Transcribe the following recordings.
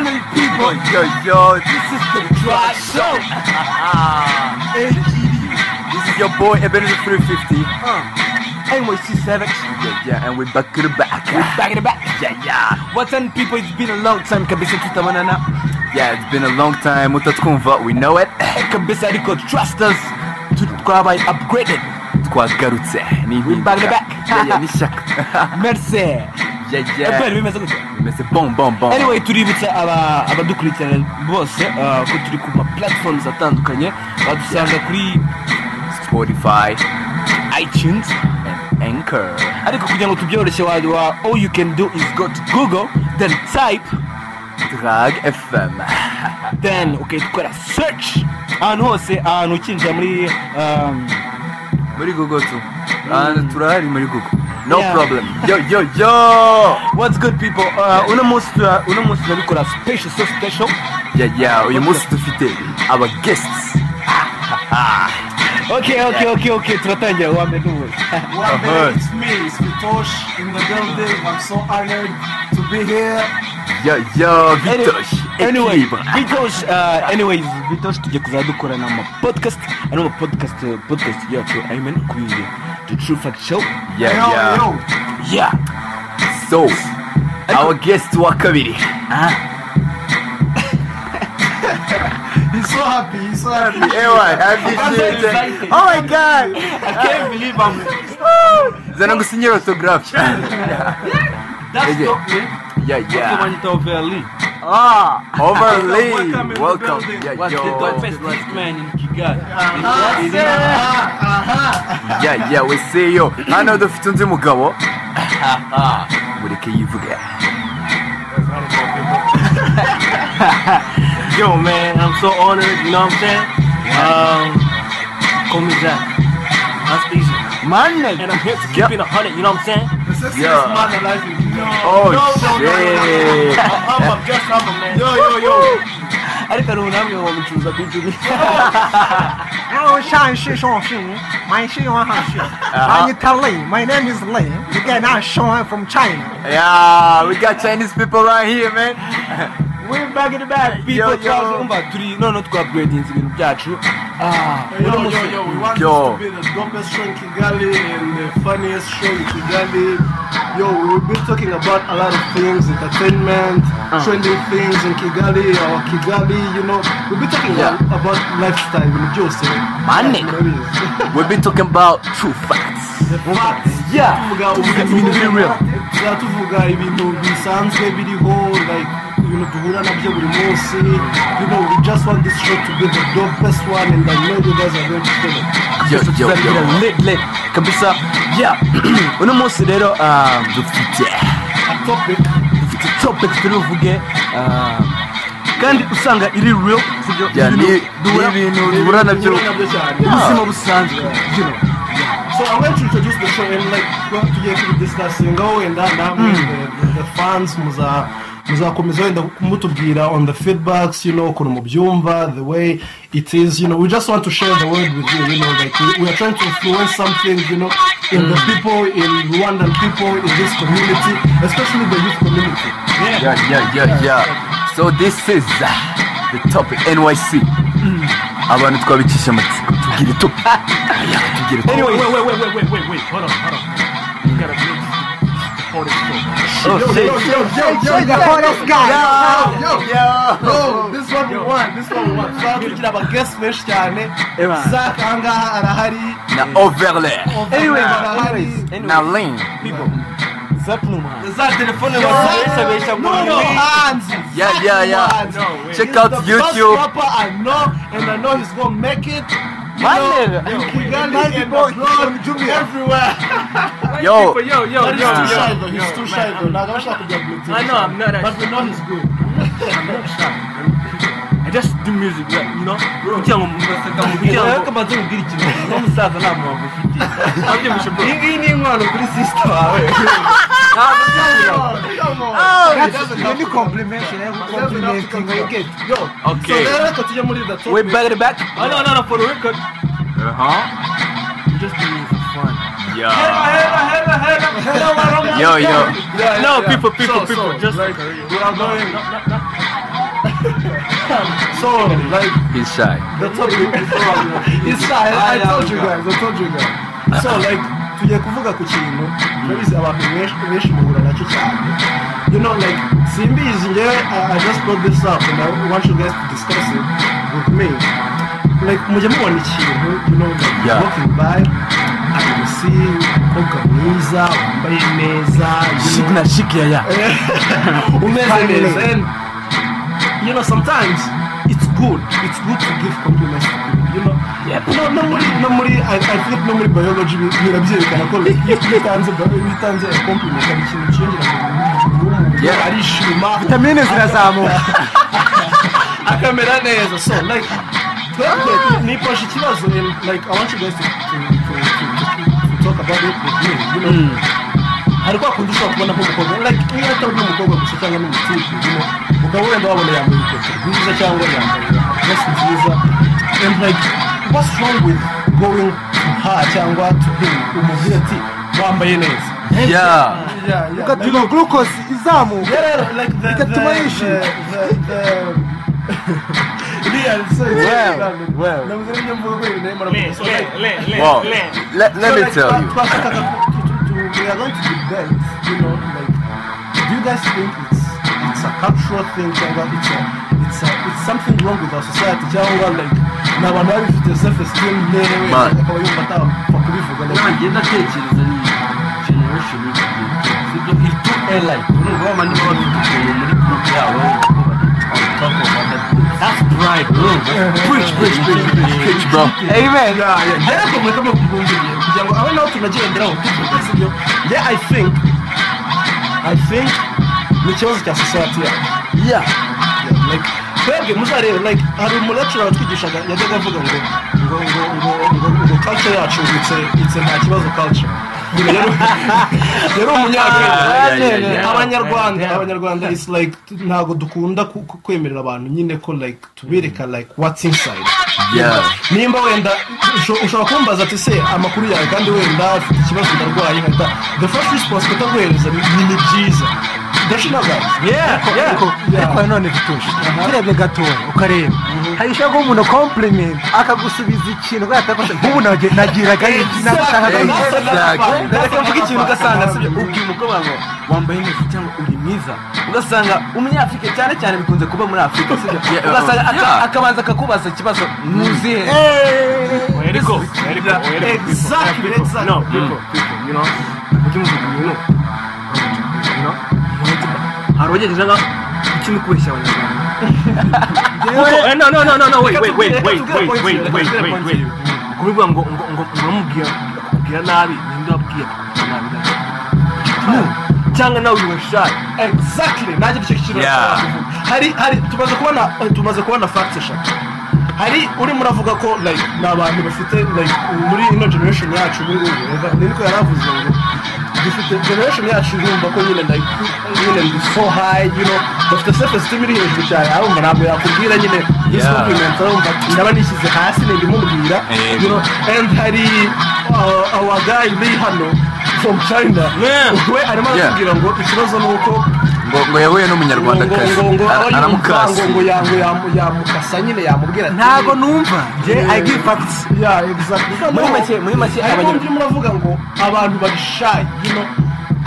yo, yo, yo, this is the dry show. Hey, GD. This is your boy Ebenezer 350. Uh, NYC Savage. Yeah, yeah, and we're back to the back. We're back in the back. Yeah, yeah. What's up, people? It's been a long time. Cabeça de tamanana. Yeah, it's been a long time. Muta tukumva, we know it. Cabeça de trust us. Tukabaye upgraded. Twagarutse. Ni We're back in the back. Yeah, yeah, nishaka. Merci. Yeah, Oh. Eh, yeah. Kweli bimeze gutya. Bimeze bon, bon, bon. anyway tuributsa aba- abadukurikirana bose uh, ko turi ku ma platforms atandukanye badusanga kuri Spotify itunes and Anchor. ariko kugira ngo tubyoroshye wa, wa all you can do is go to google then type Drag FM. then ugahita ukora search Ah, ahantu hose ahantu ukinjira muri um, muri Google tu. And turahari muri Google. No Mm. Yeah. problem. Yo, yo, yo. what's good people uh, uno munsi tura- uno munsi turabikora special so special Yeah, yeah. Uyu munsi dufite our guests. okay okay okay okay turatangira wa mbere n'ubundi One Uh-huh. day it's me, it's Vitosh in the building. I'm so honored to be here. Yo, yo, Any- Vitosh. anyway, Equilibre. Vitosh, uh, anyways, Vitosh tujya kuzajya dukorana ama podcast ari mu podcast uh, podcast yacu amen kuri the true fact show Yeah, yo, yeah. yo, yeah So, our guest wa kabiri. he's so happy, he's so happy. Ewa, appreciate it. Oh my god. I can't believe I'm Zana gusinyira autograph. that's Yeah. not me Yeah, yeah. yeah. Manito Valley Ah, overlay. Welcome, welcome in the Welcome. building. Yeah, what's the yo. toughest black man in Kigali Aha, aha, aha. Yeah, yeah, we see you. Hano dufite undi mugabo. Mureke yivuge. yo man I'm so honored you know what I'm saying um, call me Jack that's easy Man. I'm here to keep it 100 you know what I'm saying This is Yeah. yeah. man alive. No. Oh, no, shit. I'm a guest, I'm a man. Yo, yo, yo. ariko hari namwe wamucuruza kuri Jimmy Hello, Shan Shi Shong Shi. My Shi Yuan Han Shi. I'm Italian. My name is Lei. Again, I'm Shong from China. Yeah, we got Chinese people right here, man. We're back in the back. Yo, People yo. twazumva turi none twabgradinze ibintu byacu. Ah, Yo, yo, yo, we want Yo. this to be the dopest show in Kigali and the funniest show in Kigali. Yo, we'll be talking about a lot of things, entertainment, Uh-huh. trending things in Kigali, our Kigali, you know. We'll be talking Yeah. a- about lifestyle in Jose. Money. We've been talking about true facts. Yeah. Ibintu biri real. tuvuga ibintu bisanzwe biriho like ibintu duhura nabyo buri munsi you know we just want this show to be the dopest one and I know you guys are going to feel it Yo, Kabisa yo, tuzagira yo. lit, lit. kabisa yeah uno munsi rero ah, Dufite. a topic dufite topic turi buvuge ah, kandi usanga iri real sibyo Yeah, Ibintu ni- duhura- ni ibintu duhura nabyo. duhura nabyo cyane mu buzima busanzwe you know. So I'm going to introduce the show and like we have to get through this last single and that that way the, the fans uh, muza muzakomeza wenda kumutubwira on the feedbacks you know ukuntu mubyumva the way it is you know we just want to share the word with you you know like we, we are trying to influence something you know in the people in Rwandan people in this community especially the youth community Yeah, yeah, yeah, yeah. So this is uh, the topic NYC. Mm. abantu twabicisha amatsiko tubwire topic Yeah, tubwire topic. Anyway, wait wait wait wait wait wait hold on hold on you gotta make this Oh, yo, shit. yo, yo, yo, yo, She's the hottest guy. yo, yo. Yo. Yo, this one we want, this one we want. Tuzaba tugira aba guest benshi cyane. Ewa. Zach ahangaha arahari. na overlay Anyway, arahari. anyways, na anyways, lean people, Zack ni umuhanzi. Za telefone bazabesabesha no, buri no, week. hands. Yeah, Zach yeah, yeah. Muhanzi. No way. He's Check out the YouTube. Best rapper I know, and I know he's gonna make it. You Man, know, nigga. in Kigali Man, and boy, abroad, everywhere. yo But he's yo, too shy though. He's too shy though. Like, I wish I could get blue I know, I'm not But we actually. know he's good. I just do music, like, you know? Kugira ngo mubaseka mu kugira Ngira ngo ngo kamaze kubwira ikintu n'umusaza nta muhango ufite ababyeyi bishobora. iyi ngiyi ni inkwano kuri sisita wawe Come on. That's really complimentary. Complimenting. I get. Yo, Okay. so rero reka tujye muri the topic. we back to back Oh, no, no, no, for the record. huh I'm just doing it for fun. Uh-huh. yo yo No, people, people, So, so, people, just. like, we are going. so like He's shy. the topic is wrong. It's not. Ah, I, I told you guys. I told you guys. So like tugiye kuvuga ku kintu turabizi abantu benshi benshi muhura nacyo cyane you know like simbizi ngewe I, I just brought this up and I want you guys to discuss it with me like mujya mubona ikintu you know like Yeah. walking by abayobozi umukobwa mwiza wambaye neza you know, na chic ya ya umeze Finally. neza and you know sometimes it's good it's good to give compliments to people you know no no muri no muri I, I think no muri biology bi- birabyerekana ko like, iyo utanze bio- iyo utanze a compliment hari ikintu cyiyongera mu mubiri w'umuntu Yeah. arishima vitamine zirazamuka akamera neza so like twebwe nifashe ikibazo and like I want you guys to to to to, to, to talk about it with me you know hari kwa kundi ushobora kubona nk'umukobwa like iyo atari n'umukobwa gusa cyangwa n'umukobwa you know ukaba wenda wabona yambaye inkweto nziza cyangwa yambaye dress nziza and like what's wrong with going to her cyangwa to him umubwire ati wambaye neza Yeah. yeah yeah like, ugatuma glucose izamuka yeah, yeah, like the, the, Bigatuma yishima. the, the, the Real, so Well, well. Navuze n'ibyo mvuga ko ibintu arimo aravuga. So, like, Wow. Let, let me uh, tell you. Twashakaga ku- tu- tu- tu- we are going to debate, you know, like, do you guys think it's it's a cultural thing cyangwa it's a it's a it's something wrong with our society cyangwa like ni abantu baba bifite self esteem nkewe Man. akaba yumva atapfa kubivuga like nanjye ndatekereza ni generation y'iki gihe sibyo itu airline urumva ba bandi baba bafite ukuntu muri group yabo on top of other group that's pride urumva preach preach preach preach preach Bitch, bro. amen ariko mwita mu kugumbiriye kugira ngo abe nawe tunagenderaho tuvuga sibyo nge i think i think ni ikibazo cya sosiyete yacu Yeah, like twebwe muzarebe like hari umulecture watwigishaga yajyaga avuga ngo ngo ngo ngo ngo ngo culture yacu it's a- it's a nta kibazo culture Ubu rero rero umunyakenya Ah, yeah, yeah, yeah. abanyarwanda abanyarwanda is like ntabwo dukunda ku- ku- kwemerera abantu nyine ko like tubereka like what's inside Yeah. nimba wenda usho- ushobora kumbaza ati se amakuru yawe kandi wenda ufite ikibazo ndarwaye nkahita the first response kutaguhereza ni ni- ni byiza ndashinaga ariko ariko nanone bituje Uh-huh。 turebye gatoya ukareba hari ishobora guha umuntu compliment akagusubiza ikintu kubera atafashe nk'ubu nage- nagiraga iki nagashakaga iki ariko mvuga ikintu ugasanga sibyo ubwira umukobwa ngo wambaye neza cyangwa uri mwiza ugasanga umunyafurika cyane cyane bikunze kuba muri afurika sibyo Yeah. ugasanga aka- Yeah. akabanza akakubaza ikibazo ntuzihe Eriko, Eriko, Eriko, Exactly, Eriko. exactly. No, people, people, you know, mujye muvuga ibintu, you know, hari ugerageza nka ikindi kubeshya abanyarwanda. Kuko, eh, no, no, no, no, no, wait, wait, wait, wait, wait, wait, wait, wait, wait, wait. Kubivuga ngo, ngo, ngo, uramubwira, akubwira nabi, ninde wabwiye akakubwira nabi nawe? No, cyangwa nawe ubibashaye. exactly nanjye nicyo kintu Yeah. nashakaga kuvuga. hari hari tumaze kubona eh, tumaze kubona facts eshatu hari urimo uravuga ko like ni abantu bafite like muri ino generation yacu muri ubu weva niko yari avuze ngo dufite generation yacu yumva ko nyine like nyine ndi so high you know bafite self esteem iri hejuru cyane arumva ntabwo yakubwira nyine this Yeah. compliment arumva ndaba nishyize hasi ni ndimubwira Amen. you know and hari uh, our guy uri hano from China Yeah. we arimo Yeah. aratubwira ngo ikibazo ni uko ngo ngo yahuye n'umunyarwandakazi Ara- aramukasa ngo yango yamukasa nyine yamubwira ati- "Eh, ntago numva njye i give facts Yeah, exactly. Muri make- muri make Hari abanyarwanda- n'undi muravuga ngo abantu babishaye you know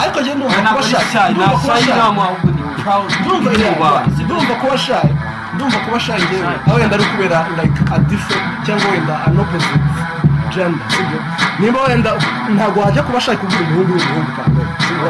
ariko njye ndumva Ntabwo kuba ari shy, shy, ndumva nta kuba shy shy. nta muntu uri proud. ndumva Ni yeah, abantu. ndumva kuba shy ndumva kuba shy ngewe aho wenda ari kubera like a different cyangwa wenda an opposite gender sibyo nimba wenda ntabwo wajya kuba shy kubwira umuhungu w'umuhungu cyangwa sibyo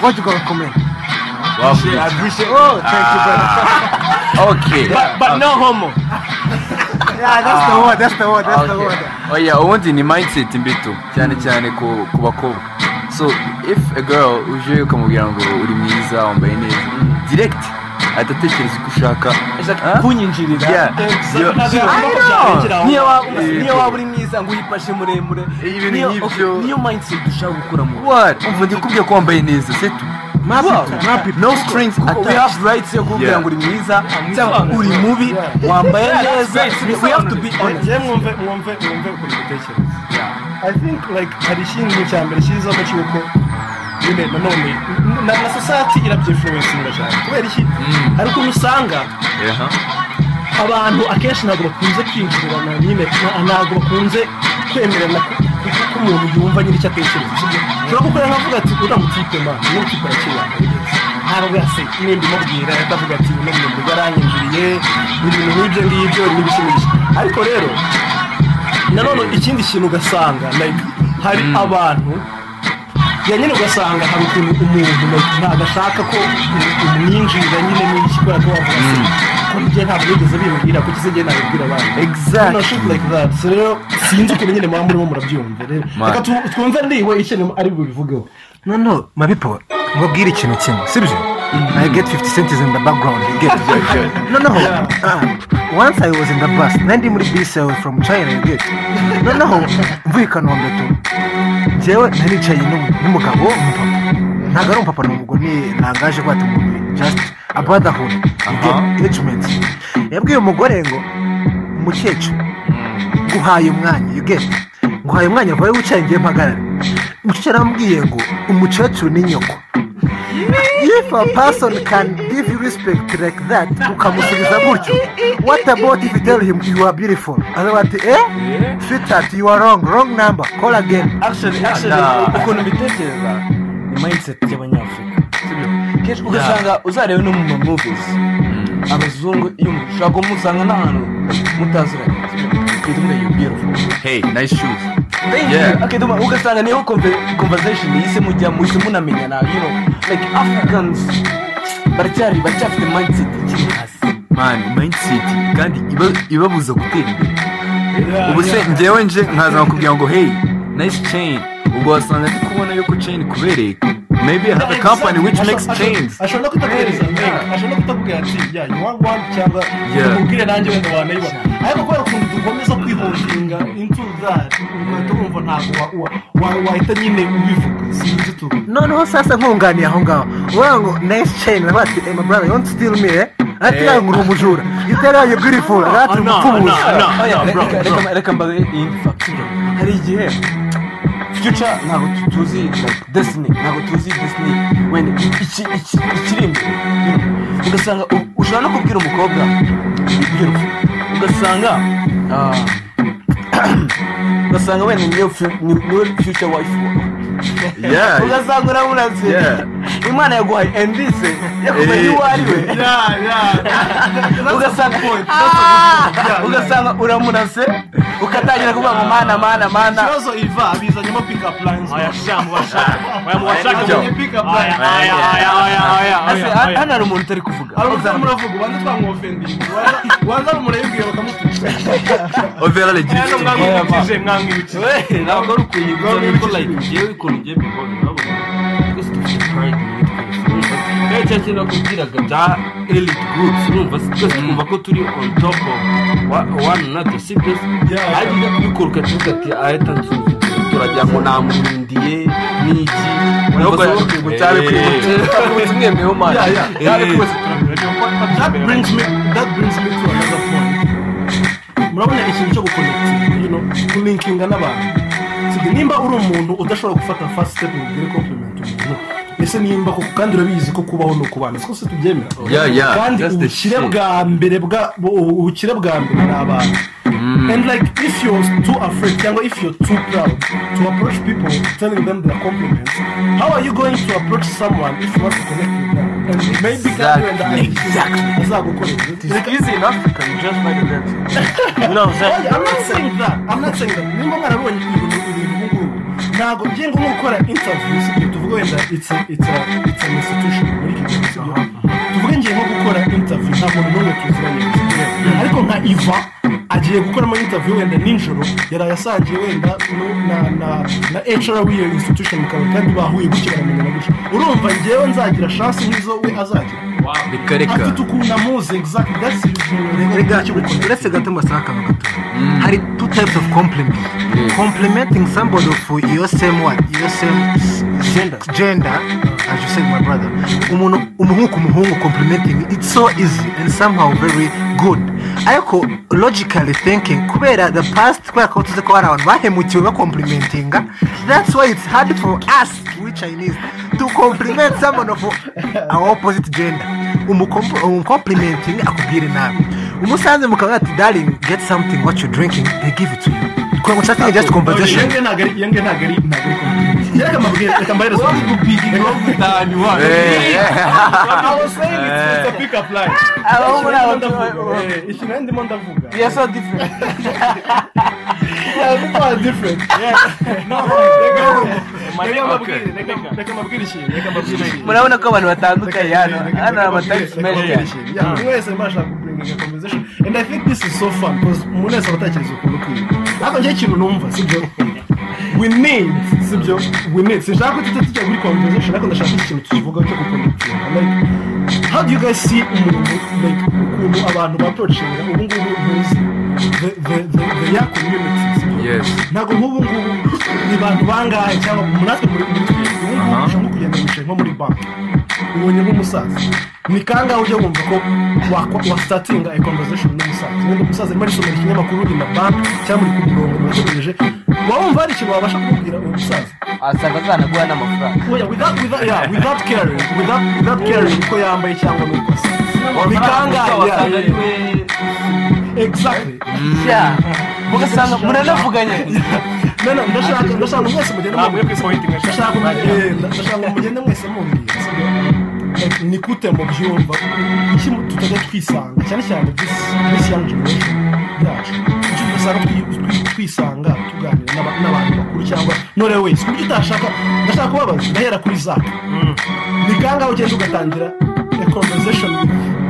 What you gonna comment? Wavuze. I appreciate Ah. it. Oh, thank you, brother. okay But, but no homo. Yeah, that's the word. That's the word. That's the Okay. word. oya ubundi ni mindset mbi tu cyane cyane ku ku bakobwa Mm. so if a girl uje ukamubwira ngo uri mwiza wambaye neza direct adatekereza uko ushaka ashaka kunyinjirira Yeah. So, Yeah. ntabwo I agomba know. kubyandikira aho Niyo ngaho. waba- niyo waba uri mwiza ngo uyifashe muremure Ibintu Niyo- nk'ibyo. okay, niyo mindset dushaka gukura mu what umva ndikubwiye ko wambaye neza setu no strings Kuko we attached have rights yo kumbwira Yeah. ngo uri mwiza cyangwa uri mubi wambaye neza we have to be honest njye mwumve mwumve mwumve ukuntu mbitekereza i think like hari ikintu cya mbere kizamo cy'uko nyine nanone na na society irabyifuwesinga cyane kubera iki hari ukuntu usanga Yeah. abantu akenshi ntabwo bakunze kwinjirana nyine na- ntabwo bakunze kwemerana ko- ko ko umuntu yumva nyiri icyo atekereza sibyo? ushobora gukora nkavuga ati uramutse yipema niba ufite arakira ntabwo yase n'indi imubwira ahita avuga ati uno muntu yaranyinjiriye ibintu nk'ibyo ngibyo n'ibishimishije ariko rero nanone ikindi kintu ugasanga like hari abantu ya nyine ugasanga hari ukuntu umuntu like, ntabwo ashaka ko um- umwinjirira nyine n'iki kubera ko wavuga ati ko njye ntabwo bigeze bimbwira kuko ese njye nabibwira abandi Exactly. No shit like that. So rero sinzi ukuntu nyine muba murimo murabyumva rero Man. reka tu- twumve niwe icyo ni- ari bubivugeho no no mabipo ngubwire ikintu kimwe sibyo I get 50 cents in the background Mm-hmm. you get noneho ah, once I was in the bus nandi muri bus I was from China you get noneho mvuye i Kanombe tu njyewe naricaye n'umu- n'umugabo w'umupapa ntabwo ari umupapa ni umugore ni- nangaje ko ati umuntu just a brotherhood you get engagement yabwiye umugore ngo umukecuru nguhaye umwanya you get nguhaye umwanya vayo wicaye ngiye mpagarare umukecuru arambwiye ngo umukecuru ni nyoko if a person can give you respect like that ukamusubiza gutyo what about if you tell him you are beautiful aravuga ati eh sweetheart you are wrong wrong number call again actually actually ukuntu mbitekereza ni mindset y'abanyafurika sibyo kenshi ugasanga uzarebe no mu ma movies abazungu iyo umuntu ushobora kuba musanga n'ahantu mutaziranye sibyo bituma iyo beautiful hey nice shoes Thank you. Yeah. Okay, duma, ugasanga niho conve- conversation yise mujya muhise munamenyana you know like africans baracyari baracyafite mindset ikiri hasi man mindset kandi iba- ibabuza gutera imbere ubu se njyewe nje nkaza nkakubwira ngo hey nice chain ubwo wasanga ndi kubona yuko chain ikubereye maybe I have a company which makes chains ashobora no kutakwereza make ashobora no kutakubwira ati ya you want one cyangwa Yeah. umubwire nanjye wenda wanayibona ariko kubera ukuntu dukomeza kwihondinga into that ugahita wumva ntabwo wa- wa- wa- wahita nyine ubivuga sinzi tubi noneho sasa nkunganiye aho ngaho uvuga ngo nice chain aravuga ati eh my brother don't steal me eh ati yawe ngo uri umujura itera yawe beautiful aravuga Oh, ati uri umupfubuzi Oya, reka- reka- reka mbahe indi fact hari igihe future ntabwo tu- tuzi like, destiny ntabwo tuzi destiny wenda iki- iki- iki- ikiri imbere you know. ugasanga u- ushobora no kubwira umukobwa ibyiruka ugasanga ah, ugasanga wenda niyo fu- ni- niwe future wife wawe yeah ugasanga uramuratse Yeah. imana yaguhaye endise yakumenye Eh. uwo ari we ugasanga Ah! ugasanga uramurase ukatangira kuvuga ngo mana mana mana ikibazo iva bizanyemo pick up lines Yo. azanye pick up lines Oh, Ase, ha- hano hari umuntu utari kuvuga hari umuntu muravuga ubanza twamwofendinga ubanza murayibwira bakamutuka overall igira icyo ikubwira. We, ntabwo ari ukuyigwa ni uko like ngewe ukuntu ngiye mbibona urabona twese dufite pride muri twese rero cya kintu nakubwiraga bya elite groups urumva si twese twumva ko turi on top of wa- one another si byo ariko ujya kubikora ukacuruza ati ahita nsuzi turagira ngo namurindiye n'iki Ahubwo urabona eh, cyabikwiye Twabikubise mwemwe wo mana Twabikubise. that brings me that brings me to another point murabona ikintu cyo gukonekitinga you know kulinkinga n'abantu Sige, nimba uri umuntu udashobora gufata fast step ngo ugire compliment umuntu ese nimba koko kandi urabizi ko kubaho ni ukubana siko se tubyemera Yeah, yeah, kandi that's the ubukire shit. bwa mbere bwa bu- ubukire bwa mbere ni abantu and like if you're too afraid cyangwa if you're too proud to approach people telling them their compliments how are you going to approach someone if you want to connect with them and maybe kandi wenda azagukorera Oya, I'm not saying that. I'm not saying that. Nimba mwarabonye ibintu ibintu ubu ngubu ntabwo ngiye nko gukora interview si byo tuvuge wenda it's a it's a it's an institution muri iki gihe si byo tuvuge ngiye nko gukora interview nta muntu n'umwe tuziranye si byo? ariko nka Iva agiye gukoramo interview wenda nijoro yaraye asangiye wenda nu- na na na HR w'iyo institution mu kabari kandi bahuye gutya baramenya gutya urumva njyewe nzagira chance nk'izo we azagira reka reka afite ukuntu amuzi exact that's the Rega, uretse gato mbasaba akantu gato hari two types of compliment complimenting somebody for your same what your same s- Gender. gender as you said my brother umuntu umuhungu ku muhungu complimenting it's so easy and somehow very good ariko logically thinking kubera the past kubera ko tuzi ko hari abantu bahemukiwe bakomplimentinga that's why it's hard for us we chinese to compliment someone of our opposite gender Umukomp- umucomplimenting akubwira inama umusanze mukaba ati darling get something what you drinking they give it to you kubera ngo something is just conversation Yenge ntabwo ari yenge ntabwo ari ntabwo ari komite reka mbabwire reka mbahereze Eh, I was saying it's, Eh. it's a pickup line. abo muri abo Ndavuga, tu- eh, ikintu ndimo ndavuga. we are so different Yeah, people are different. Yeah. No, reka reka Okay. mbabwire reka reka mbabwire ikintu reka mbabwire ikintu. murabona ko abantu batandukanye hano hano hari abatagisi menshi cyane and i think this is so fun because umuntu wese aba atekereza ukuntu ukwiye ariko njye ikintu numva sibyo we need sibyo we need sinshaka ko tujya tujya muri conversation ariko ndashaka ikintu tukivugaho cyo gukonekitinga like how do you guys see umuntu like ukuntu abantu baporoshinga ubu ngubu muzi the the the the young community sibyo? Yes. ntabwo nk'ubu ngubu ni bantu bangahe cyangwa natwe muri muri twe ubu ngubu ushobora no kugenda wicaye nko muri banki ubonye nk'umusaza ni kangahe ujya wumva ko wakwa- wasitatinga a conversation n'umusaza wenda umusaza arimo arisomera ikinyamakuru ni na banki cyangwa muri ku murongo murategereje wabumva hari ikintu wabasha kumubwira uwo musaza asanga azanaguha n'amafaranga Oya, without without yeah without caring without without caring uko yambaye cyangwa n'uko asa ni kangahe yeah, yeah, yeah. exactly Yeah. Mm. mugasanga muranavuganye no no ndashaka ndashaka mwese mugende ntabwo mubwira yo kwisohotinga ndashaka mugenda ndashaka mugende mwese mumbwira ni gute mubyumva iki tutajya twisanga cyane cyane this young generation yacu kuki dusanga twisanga tuganira n'aba- n'abantu bakuru cyangwa none wese kuburyo utashaka ndashaka kubabaza ndahera kuri zaka ni kangahe ugenda ugatangira a conversation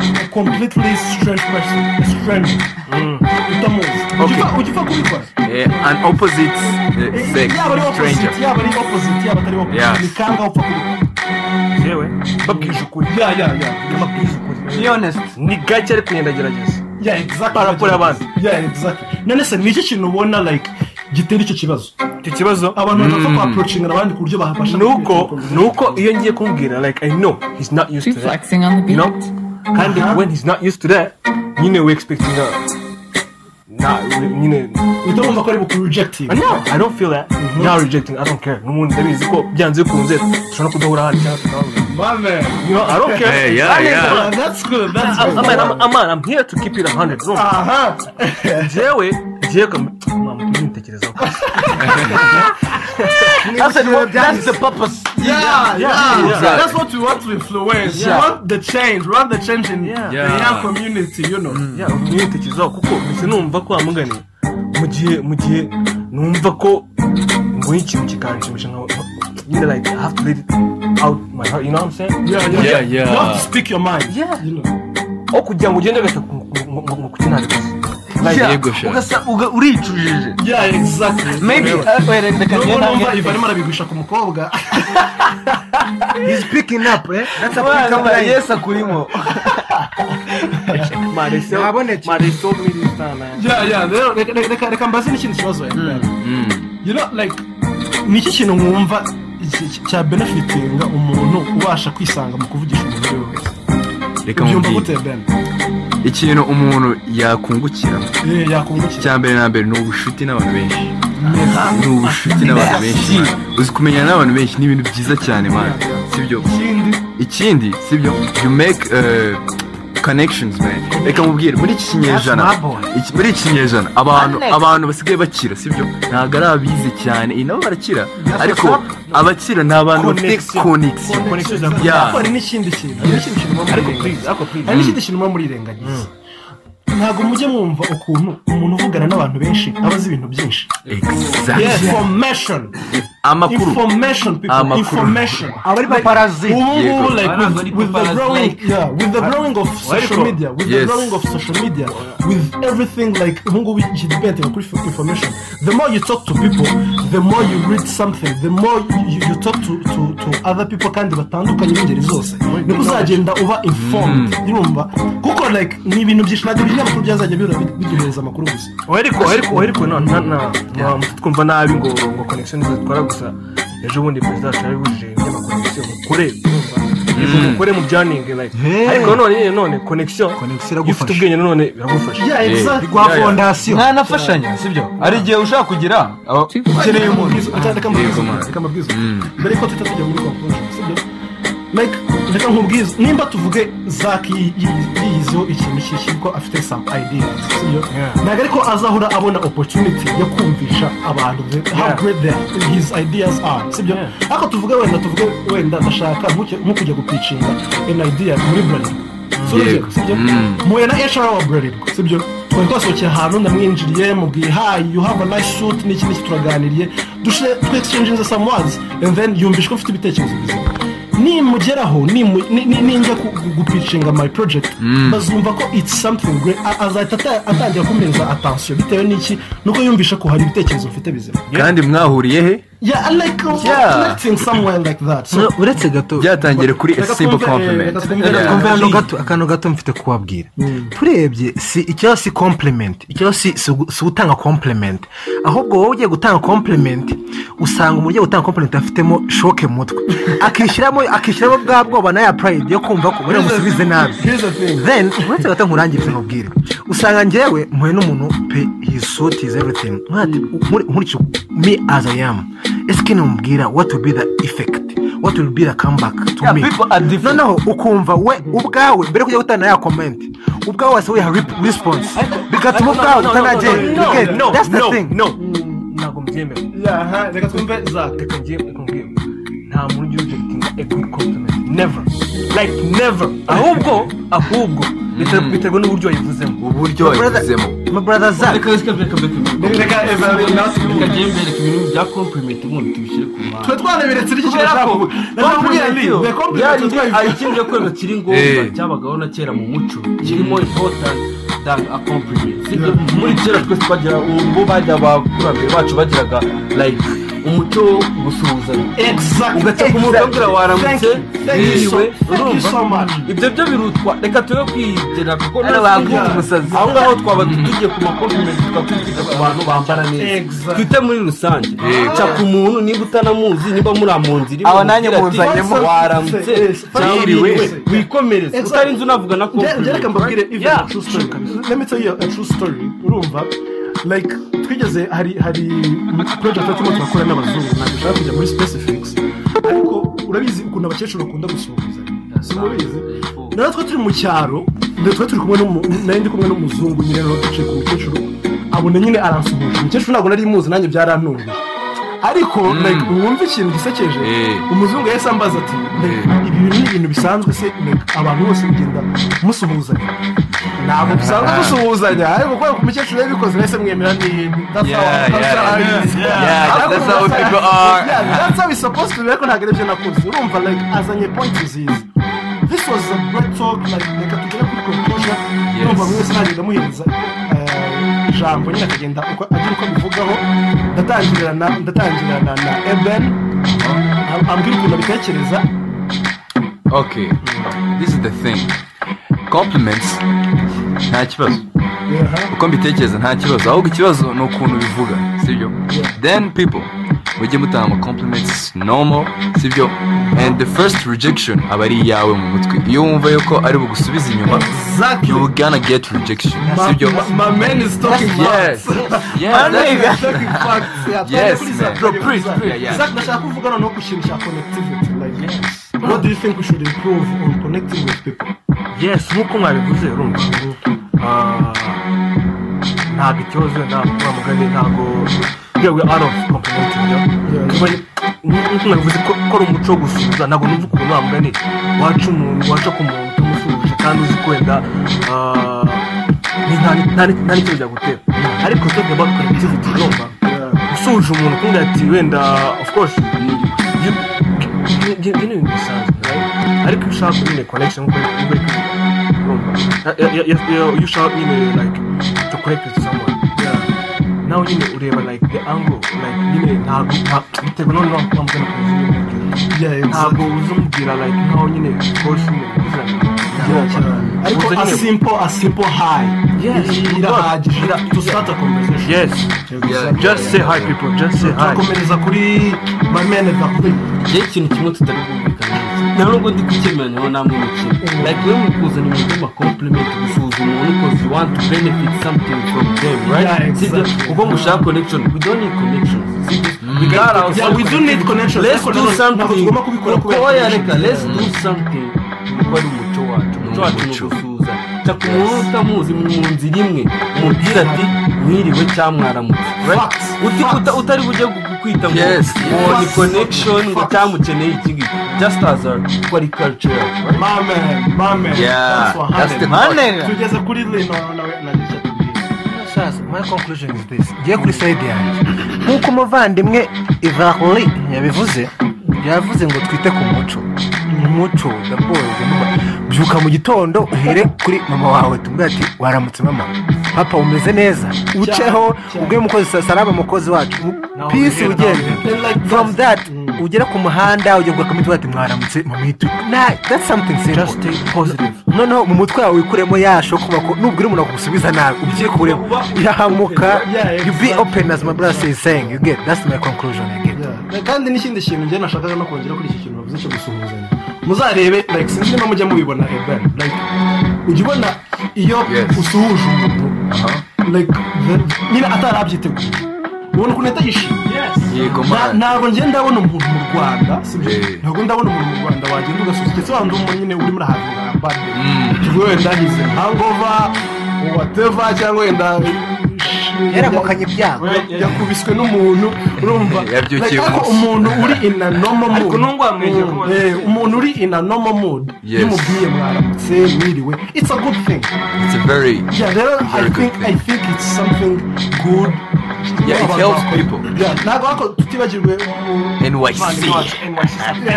with a completely strange person a stranger utamuzi Ujya- ujya upfa kubikora Eh, an opposite eh, sex yaba ari stranger opposite yaba ari opposite yaba atari Yeah. opposite ni kangahe upfa kubikora yewe babwije ukuri ya ya ya amabwiriza ukuri be honest ni gake ariko ngenda gerageza ya exactly Paraporo y'abandi. ya exactly none se ni iki kintu ubona like gitera icyo kibazo icyo kibazo abantu badapfa Mm. ku approachinga abandi ku buryo babasha nuko nuko iyo ngiye kumubwira like i know he's not used to that Reflexing on the you beat. know kandi Uh-huh. when he's not used to that nyine we expecting a nah we- nyine utabumva ko ari buku rejecting no i don't feel that Mm-hmm. now rejecting i don't care n'umuntu ndabizi ko byanze bikunze dushobora kudahura hano cyangwa tukahahurira. mame you know i don't care Eh, yeah, Kandi- yeah. Ah, that's good that's I'm, good Ah. I'm, I'm, I'm, I'm here to keep it 100 no aha jewe jewe kamitekerezaho that's the- that's the purpose yeah, yeah, yeah. That's what we want to influence. Yeah. We want the change. We want the change in Yeah. the Yeah. young community, you know. ya utumye utekerezaho kuko mbese numva ko wamugane mu gihe mu gihe numva ko mbonye ikintu kikanshimisha nka you know like I have to let it out my heart you know what I'm saying Yeah, Yeah, You yeah. have to speak your mind. Yeah. You know. aho kugira ngo ugende gata ngo kuki nta bikoze like Yeah. Yego sha. Ugasa- uga- uricujije Yeah, exactly. maybe uh, wait, reka Nubwo njye numva nange- iva arimo arabigurisha ku mukobwa he's picking up eh that's a pick up Abana, line yesu akurimo Marisol Yabonetse. Marisol Militana Yeah, yeah, rero reka- reka- reka reka mbaze n'ikindi kibazo wenda. You know, like, ni iki kintu mwumva iki- cya benefitinga umuntu ubasha kwisanga mu kuvugisha umuntu uwo ari we wese reka ubyumva gute mubwire ben ikintu umuntu yakungukira Eh, yakungukira icya mbere na mbere ni ubucuti n'abantu benshi neza ni ubucuti n'abantu benshi man. uzi kumenyana n'abantu benshi ni ibintu byiza cyane man sibyo ikindi ikindi sibyo you make uh, connections E, man reka mubwire muri iki kinyejana That's my boy. iki- muri iki kinyejana abantu Connect. abantu basigaye bakira sibyo ntabwo ari abize cyane iyi nabo barakira ariko abakira ni abantu bafite Connection. connection connection za Yeah. Ariko hari n'ikindi kintu hari n'ikindi kintu muba ariko murirengagiza. please ariko please hari n'ikindi kintu muba murirengagiza ntabwo mujye mwumva ukuntu umuntu uvugana n'abantu benshi aba azi ibintu byinshi exactly information amakuru information people Amakuru. information abari paparazzi ubu ngubu Yego. like Bana with, bari with the paparazzi, growing like- yeah with the growing of social bro. media with the Yes. growing of social media with everything like ubu ngubu ikidepending kuri f- information the more you talk to people the more you read something the more you, you, you talk to, to, to other people kandi batandukanye b'ingeri zose niko uzagenda uba informed urumva kuko like ni ibintu byinshi ntabwo bijya amakuru byazajya bihora biduhereza amakuru gusa ariko ariko ariko na na na twumva nabi ngo ngo connection zitwara gusa ejo bundi perezida wacu yarabujije inyama connection mukore urumva? Yego, mukore mu byaninge like Yeah. ariko none nyine none connection Connection iyo ufite iragufasha. ubwenge none biragufasha yeah exactly rwa fondasiyo ntanafashanya sibyo hari igihe ushaka kugira aho ukeneye umuntu reka Yego, man. amabwiriza reka amabwiriza mbere yuko tuhita tujya muri conclusion sibyo like reka nkubwize nimba tuvuge zaki yiyizeho ikintu cyinshi kuko afite some ideas sibyo ntabwo ariko azahora abona opportunity yo kumvisha abantu the- how Yeah. great their his ideas are sibyo ariko tuvuge wenda tuvuge wenda ndashaka nkuke- nko kujya gupicinga an idea muri bralirwa Yego. Mm. muye na HR wa bralirwa sibyo twari twasohokeye ahantu ndamwinjiriye mubwiye hayi you have a nice suit n'iki n'iki turaganiriye dushe twe exchange some words and then yumvishe ko mfite ibitekerezo bizima nimugeraho nimu- ni- ni- ninjya ku- gu- gupicinga my project Mm. bazumva ko it's something great A- azahita ata- atangira kumpereza attention bitewe n'iki nuko yumvishe ko hari ibitekerezo mfite bizima kandi mwahuriye he yeah I like uh, Yeah. connecting somewhere like that so uretse gato byatangire kuri a Reka simple twumve, compliment reka twumve, Yeah. reka twumve. twumve hano gato akantu gato mfite kubabwira Mm. turebye si icyo si compliment icyo si si ugu- si utanga compliment ahubwo wowe ugiye gutanga compliment usanga umuntu ugiye gutanga compliment afitemo shoke mu mutwe akishyiramo akishyiramo bwa bwoba na ya pride yo kumva ko bari bumusubize nabi Here's the thing. then uretse gato nkurangirize nkubwire usanga njyewe mpuye n'umuntu pe his suit is everything nkati nkurikije me as i am ese ikintu mubwira what will be the effect what will be the comeback to Yeah, me people are different. noneho ukumva we ubwawe mbere yo kujya gutanga ya komenti ubwawe wasohoye rip response bigatuma ubwawe utanagera You get it? that's the thing ntabwo mbyemera yeah aha, reka twumve zaki reka ngiye reka ngiye nta muntu ugira ujya gutinda a good compliment never like never ahubwo ahubwo biterwa- biterwa n'uburyo wayivuzemo uburyo wabivuzemo my brother Zach reka reka reka reka reka evaluate tugiye bereka ibintu bya compliment ubundi tubishyire ku muhanda twe twareberetse iki kintu kubera ko cyangwa kompurenti yo yari ari twabwiye ikintu cyo kwemeza kiri Eh. ngombwa cyabagaho na kera mu muco kirimo important than a compliment sibyo muri kera twese twagira ubwo bajya abakurambere bacu bagiraga like umuco wo gusuhuzanya ugaca ku muntu ukabwira waramutse yiriwe urumva ibyo byo birutwa reka tube kwigira kuko Ari natwe bakuzi twigira- umusazi. aho ngaho twaba tugiye ku makomenti twakwigira ku bantu bambara neza Exact. twite muri rusange ca ku muntu niba utanamuzi niba muri amunzi Aba nanjye munzanyemo. waramutse Yes. cyangwa Yiriwe. yiriwe. wikomereze Exact. utarinze unavuga na reka mbabwire even Yeah. a true story let me tell you a true story urumva like twigeze hari hari project turimo turakora n'abazungu ntabwo ushaka kujya muri specifics ariko urabizi ukuntu abakecuru bakunda gusuhuzanya simubizi natwe turi mu cyaro natwe turi kumwe n'umu- nari ndi kumwe n'umuzungu nyine rero tuciye ku mukecuru abona nyine aransuhuje umukecuru ntabwo nari muzi nanjye byarantunguje ariko like wumva ikintu gisekeje Eh. umuzungu yahise ambaza ati "Like, ibi bintu ni ibintu bisanzwe se like, abantu bose mugenda musuhuzanya ntabwo dusanzwe Ah. dusuhuzanya ariko kubera ko umukecuru yabikoze nahise mwemera ni that's how- Yeah, that's yeah. how it is." Yeah, Ariko that's how Ah. gusa- people are. Yeah, that's how it's supposed to be ariko ntabwo aribyo nakoze urumva like azanye point nziza this was a great talk like reka tugere kuri conclusion urumva buri wese nagenda amuhereza eh, ijambo nyine akagenda uko agira uko abivugaho ndatangirana ndatangirana na uh, eben ambwira ukuntu abitekereza okay this is the thing compliments nta kibazo uko mbitekereza nta kibazo ahubwo ikibazo ni ukuntu bivuga sibyo then people mujye mutanga ama compliments normal sibyo and the first rejection aba ari iyawe mu mutwe iyo wumva yuko ari bugusubize inyuma Exactly. you gonna get rejection My, sibyo my, my man is talking yes facts. yes that's- talking facts. Yeah, Yes, please, man. please, Preach, please. preach, yeah. Zach, ndashaka kuvugana no ku kintu cya connectivity. Like, what do you think we should improve on connecting with people? yes nk'uko mwabivuze urumva ah, ntabwo ikibazo ntabwo mugani ntabwo yewe out of compliment Yeah. nk'uko nabivuze ko ko ari umuco wo gusuhuza ntabwo numva ukuntu wa mugani waca umuntu waca ku muntu utamusuhuje kandi uzi ko wenda ah, ni- nta nta- nta n'ikibazo byagutera ariko tuba connectivity urumva Yeah. gusa usuhuje umuntu ukundi ati wenda of course ibyo ni ibintu bisanzwe right? ariko iyo ushaka nyine connection nk'uko nk'uko uri kuvuga urumva Ya- ya- ya- ya- iyo ushaka nyine like to connect with someone yeah. nawe nyine ureba like the angle like nyine ntabwo nta- bitewe no no kwa mugana ku buzima ntabwo uzumubwira like nkaho nyine rwose umuguzi ariko a simple a simple high Iri- irahagije to start a conversation yes Yeah. just say hi people just say hi turakomereza kuri ba mene bakuru igihe ikintu kimwe tutari bwumvikane neza nta nubwo ndi kukemeranyaho nta muntu kimwe like we mu kuzana ibintu by'amakomplimenti gusuhuza umuntu because you want to benefit something from them right Yeah, sibyo exactly. kuko mushaka connection we don't need connections sibyo we got our Mm. Yeah, we do need connections. let's Ariko do ntabwo- ntabwo something tugomba kubikora kubera oya reka connections. let's do something kuko ari umuco wacu umuco wacu ni ugusuhuza cyakora umuntu utamuzi mu nzira imwe umubwira ati mwiriwe cyangwa mwaramutse right Facts. Uti- Facts. uta- utari bujye gu- kwita ngo Yes. ngo ni Facts. connection ngo Facts. cyamukeneye iki ngiki just as a ko ari cultural mame mame Yeah, that's 100. that's the manera tugeze kuri rino nawe na rishya tubwira sasa my conclusion is this ngiye kuri side yanjye nk'uko umuvandimwe ivahuri yabivuze yavuze ngo twite ku muco umuco ndaboze byuka mu gitondo uhere kuri mama wawe tumubwire ati waramutse mama papa umeze neza uceho cyane. ubwe mukozi sa- salama mukozi wacu pisi ugende from that ugera ku muhanda ujya kugura kamituba ati mwaramutse mumitu na that's something simple just stay positive noneho mu mutwe wawe wikuremo ya shokuba ko nubwo uri umuntu wakugusubiza nabi ubyikuremo irahamuka Yeah, you be exactly. open as my brother is saying you get that's my conclusion I get Yeah. kandi n'ikindi kintu njye nashakaga no kongera kuri iki kintu bavuze cyo gusuhuzanya muzarebe like sinzi niba mujya mubibona even like ujya ubona iyo Yes. usuhuje umuntu like the- nyine atarabyiteguye ubona ukuntu ahita yishimye yego Na- man ntabwo njye ndabona umuntu mu rwanda sibyo Yeah. ntabwo ndabona umuntu mu rwanda wagenda ugasuhuza ndetse wabona umuntu nyine urimo urahabwa ingamba tuvuge wenda hize hangova wateva cyangwa wenda yaramukanye ibyago yakubiswe n'umuntu urumva Yabyukiye Like, ariko umunsi. umuntu uri in a normal mood Ariko nubwo wamwenyuye Mm, kumaso. eh, umuntu uri in a normal mood Yes. iyo umubwiye mwaramutse mwiriwe it's a good thing it's a very yeah there are, I Very good think I thing. think it's something good Yeah, it helps people. yeah ntabwo ariko tutibagirwe um, nyc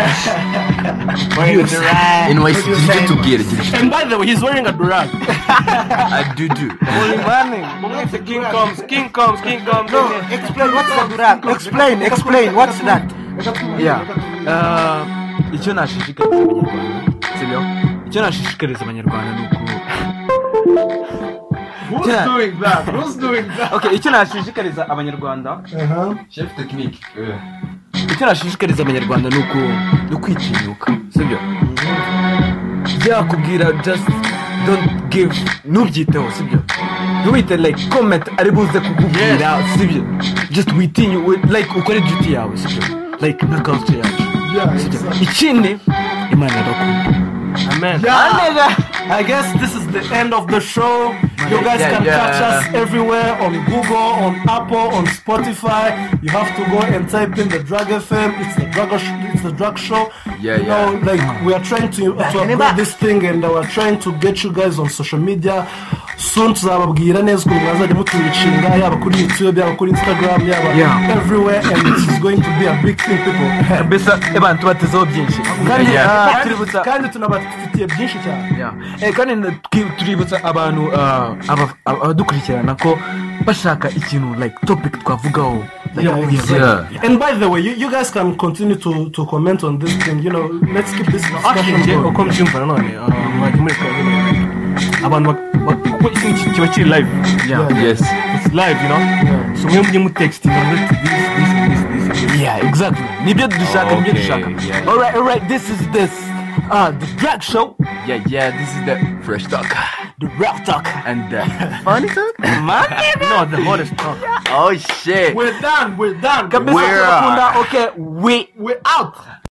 nyc tujye tubwire tujye and by the way he's wearing a durag adudu king comes king comes king comes explain what's that explain explain what's that yeah Ah, icyo nashishikariza abanyarwanda sibyo icyo nashishikariza abanyarwanda ni uku who's doing that who's doing that okay icyo nashishikariza abanyarwanda uh-huh. chef technique icyo nashishikariza abanyarwanda ni uku ni ukwitinyuka sibyo byakubwira just don't give ntubyiteho sibyo ntiwite like comment ari buze kukubwira sibyo just witinyu like ukore duty yawe sibyo like na culture yacu yeah sibyo exactly. ikindi imana irakunda Yeah. I guess this is the end of the show. You guys Yeah, can yeah. catch us everywhere on Google, on Apple, on Spotify. You have to go and type in the Drug FM. It's the drug. Sh- it's the drug show. Yeah, you yeah. know, like we are trying to to upgrade this thing, and uh, we're trying to get you guys on social media. Soon tuzababwira neza ukuntu mwazajya mutubicira yaba kuri YouTube, yaba kuri Instagram, yaba Yeah. everywhere, and this is going to be a big thing, people. mbese abantu tubatezeho byinshi Kandi, Yeah. ah, Kandi- kandi- kandi tunabafitiye byinshi cyane. Eh, kandi na- twi- tuributsa abantu ah, aba- aba- abadukurikirana ko bashaka ikintu like topic twavugaho Like, Yeah, exactly. Yeah. And by the way, you, you guys can continue to, to comment on this thing. You know, let's keep this actually discussion nje going. uko mbyumva nanone ah, mwajya mureka nyine, like, abantu bak- bak- kuko iki ngiki kiba kiri live yes it's live you know so mwe mujye mutextinga muri ati this this this this this. yeah exactly nibyo Ah, dushaka nibyo Okay, dushaka yeah. alright alright this is this ah the drag show yeah yeah this is the fresh talk the rap talk and uh, man no the hottest talk oh shit We're done. We're done. kabisa Where are- turakunda okay we We're out.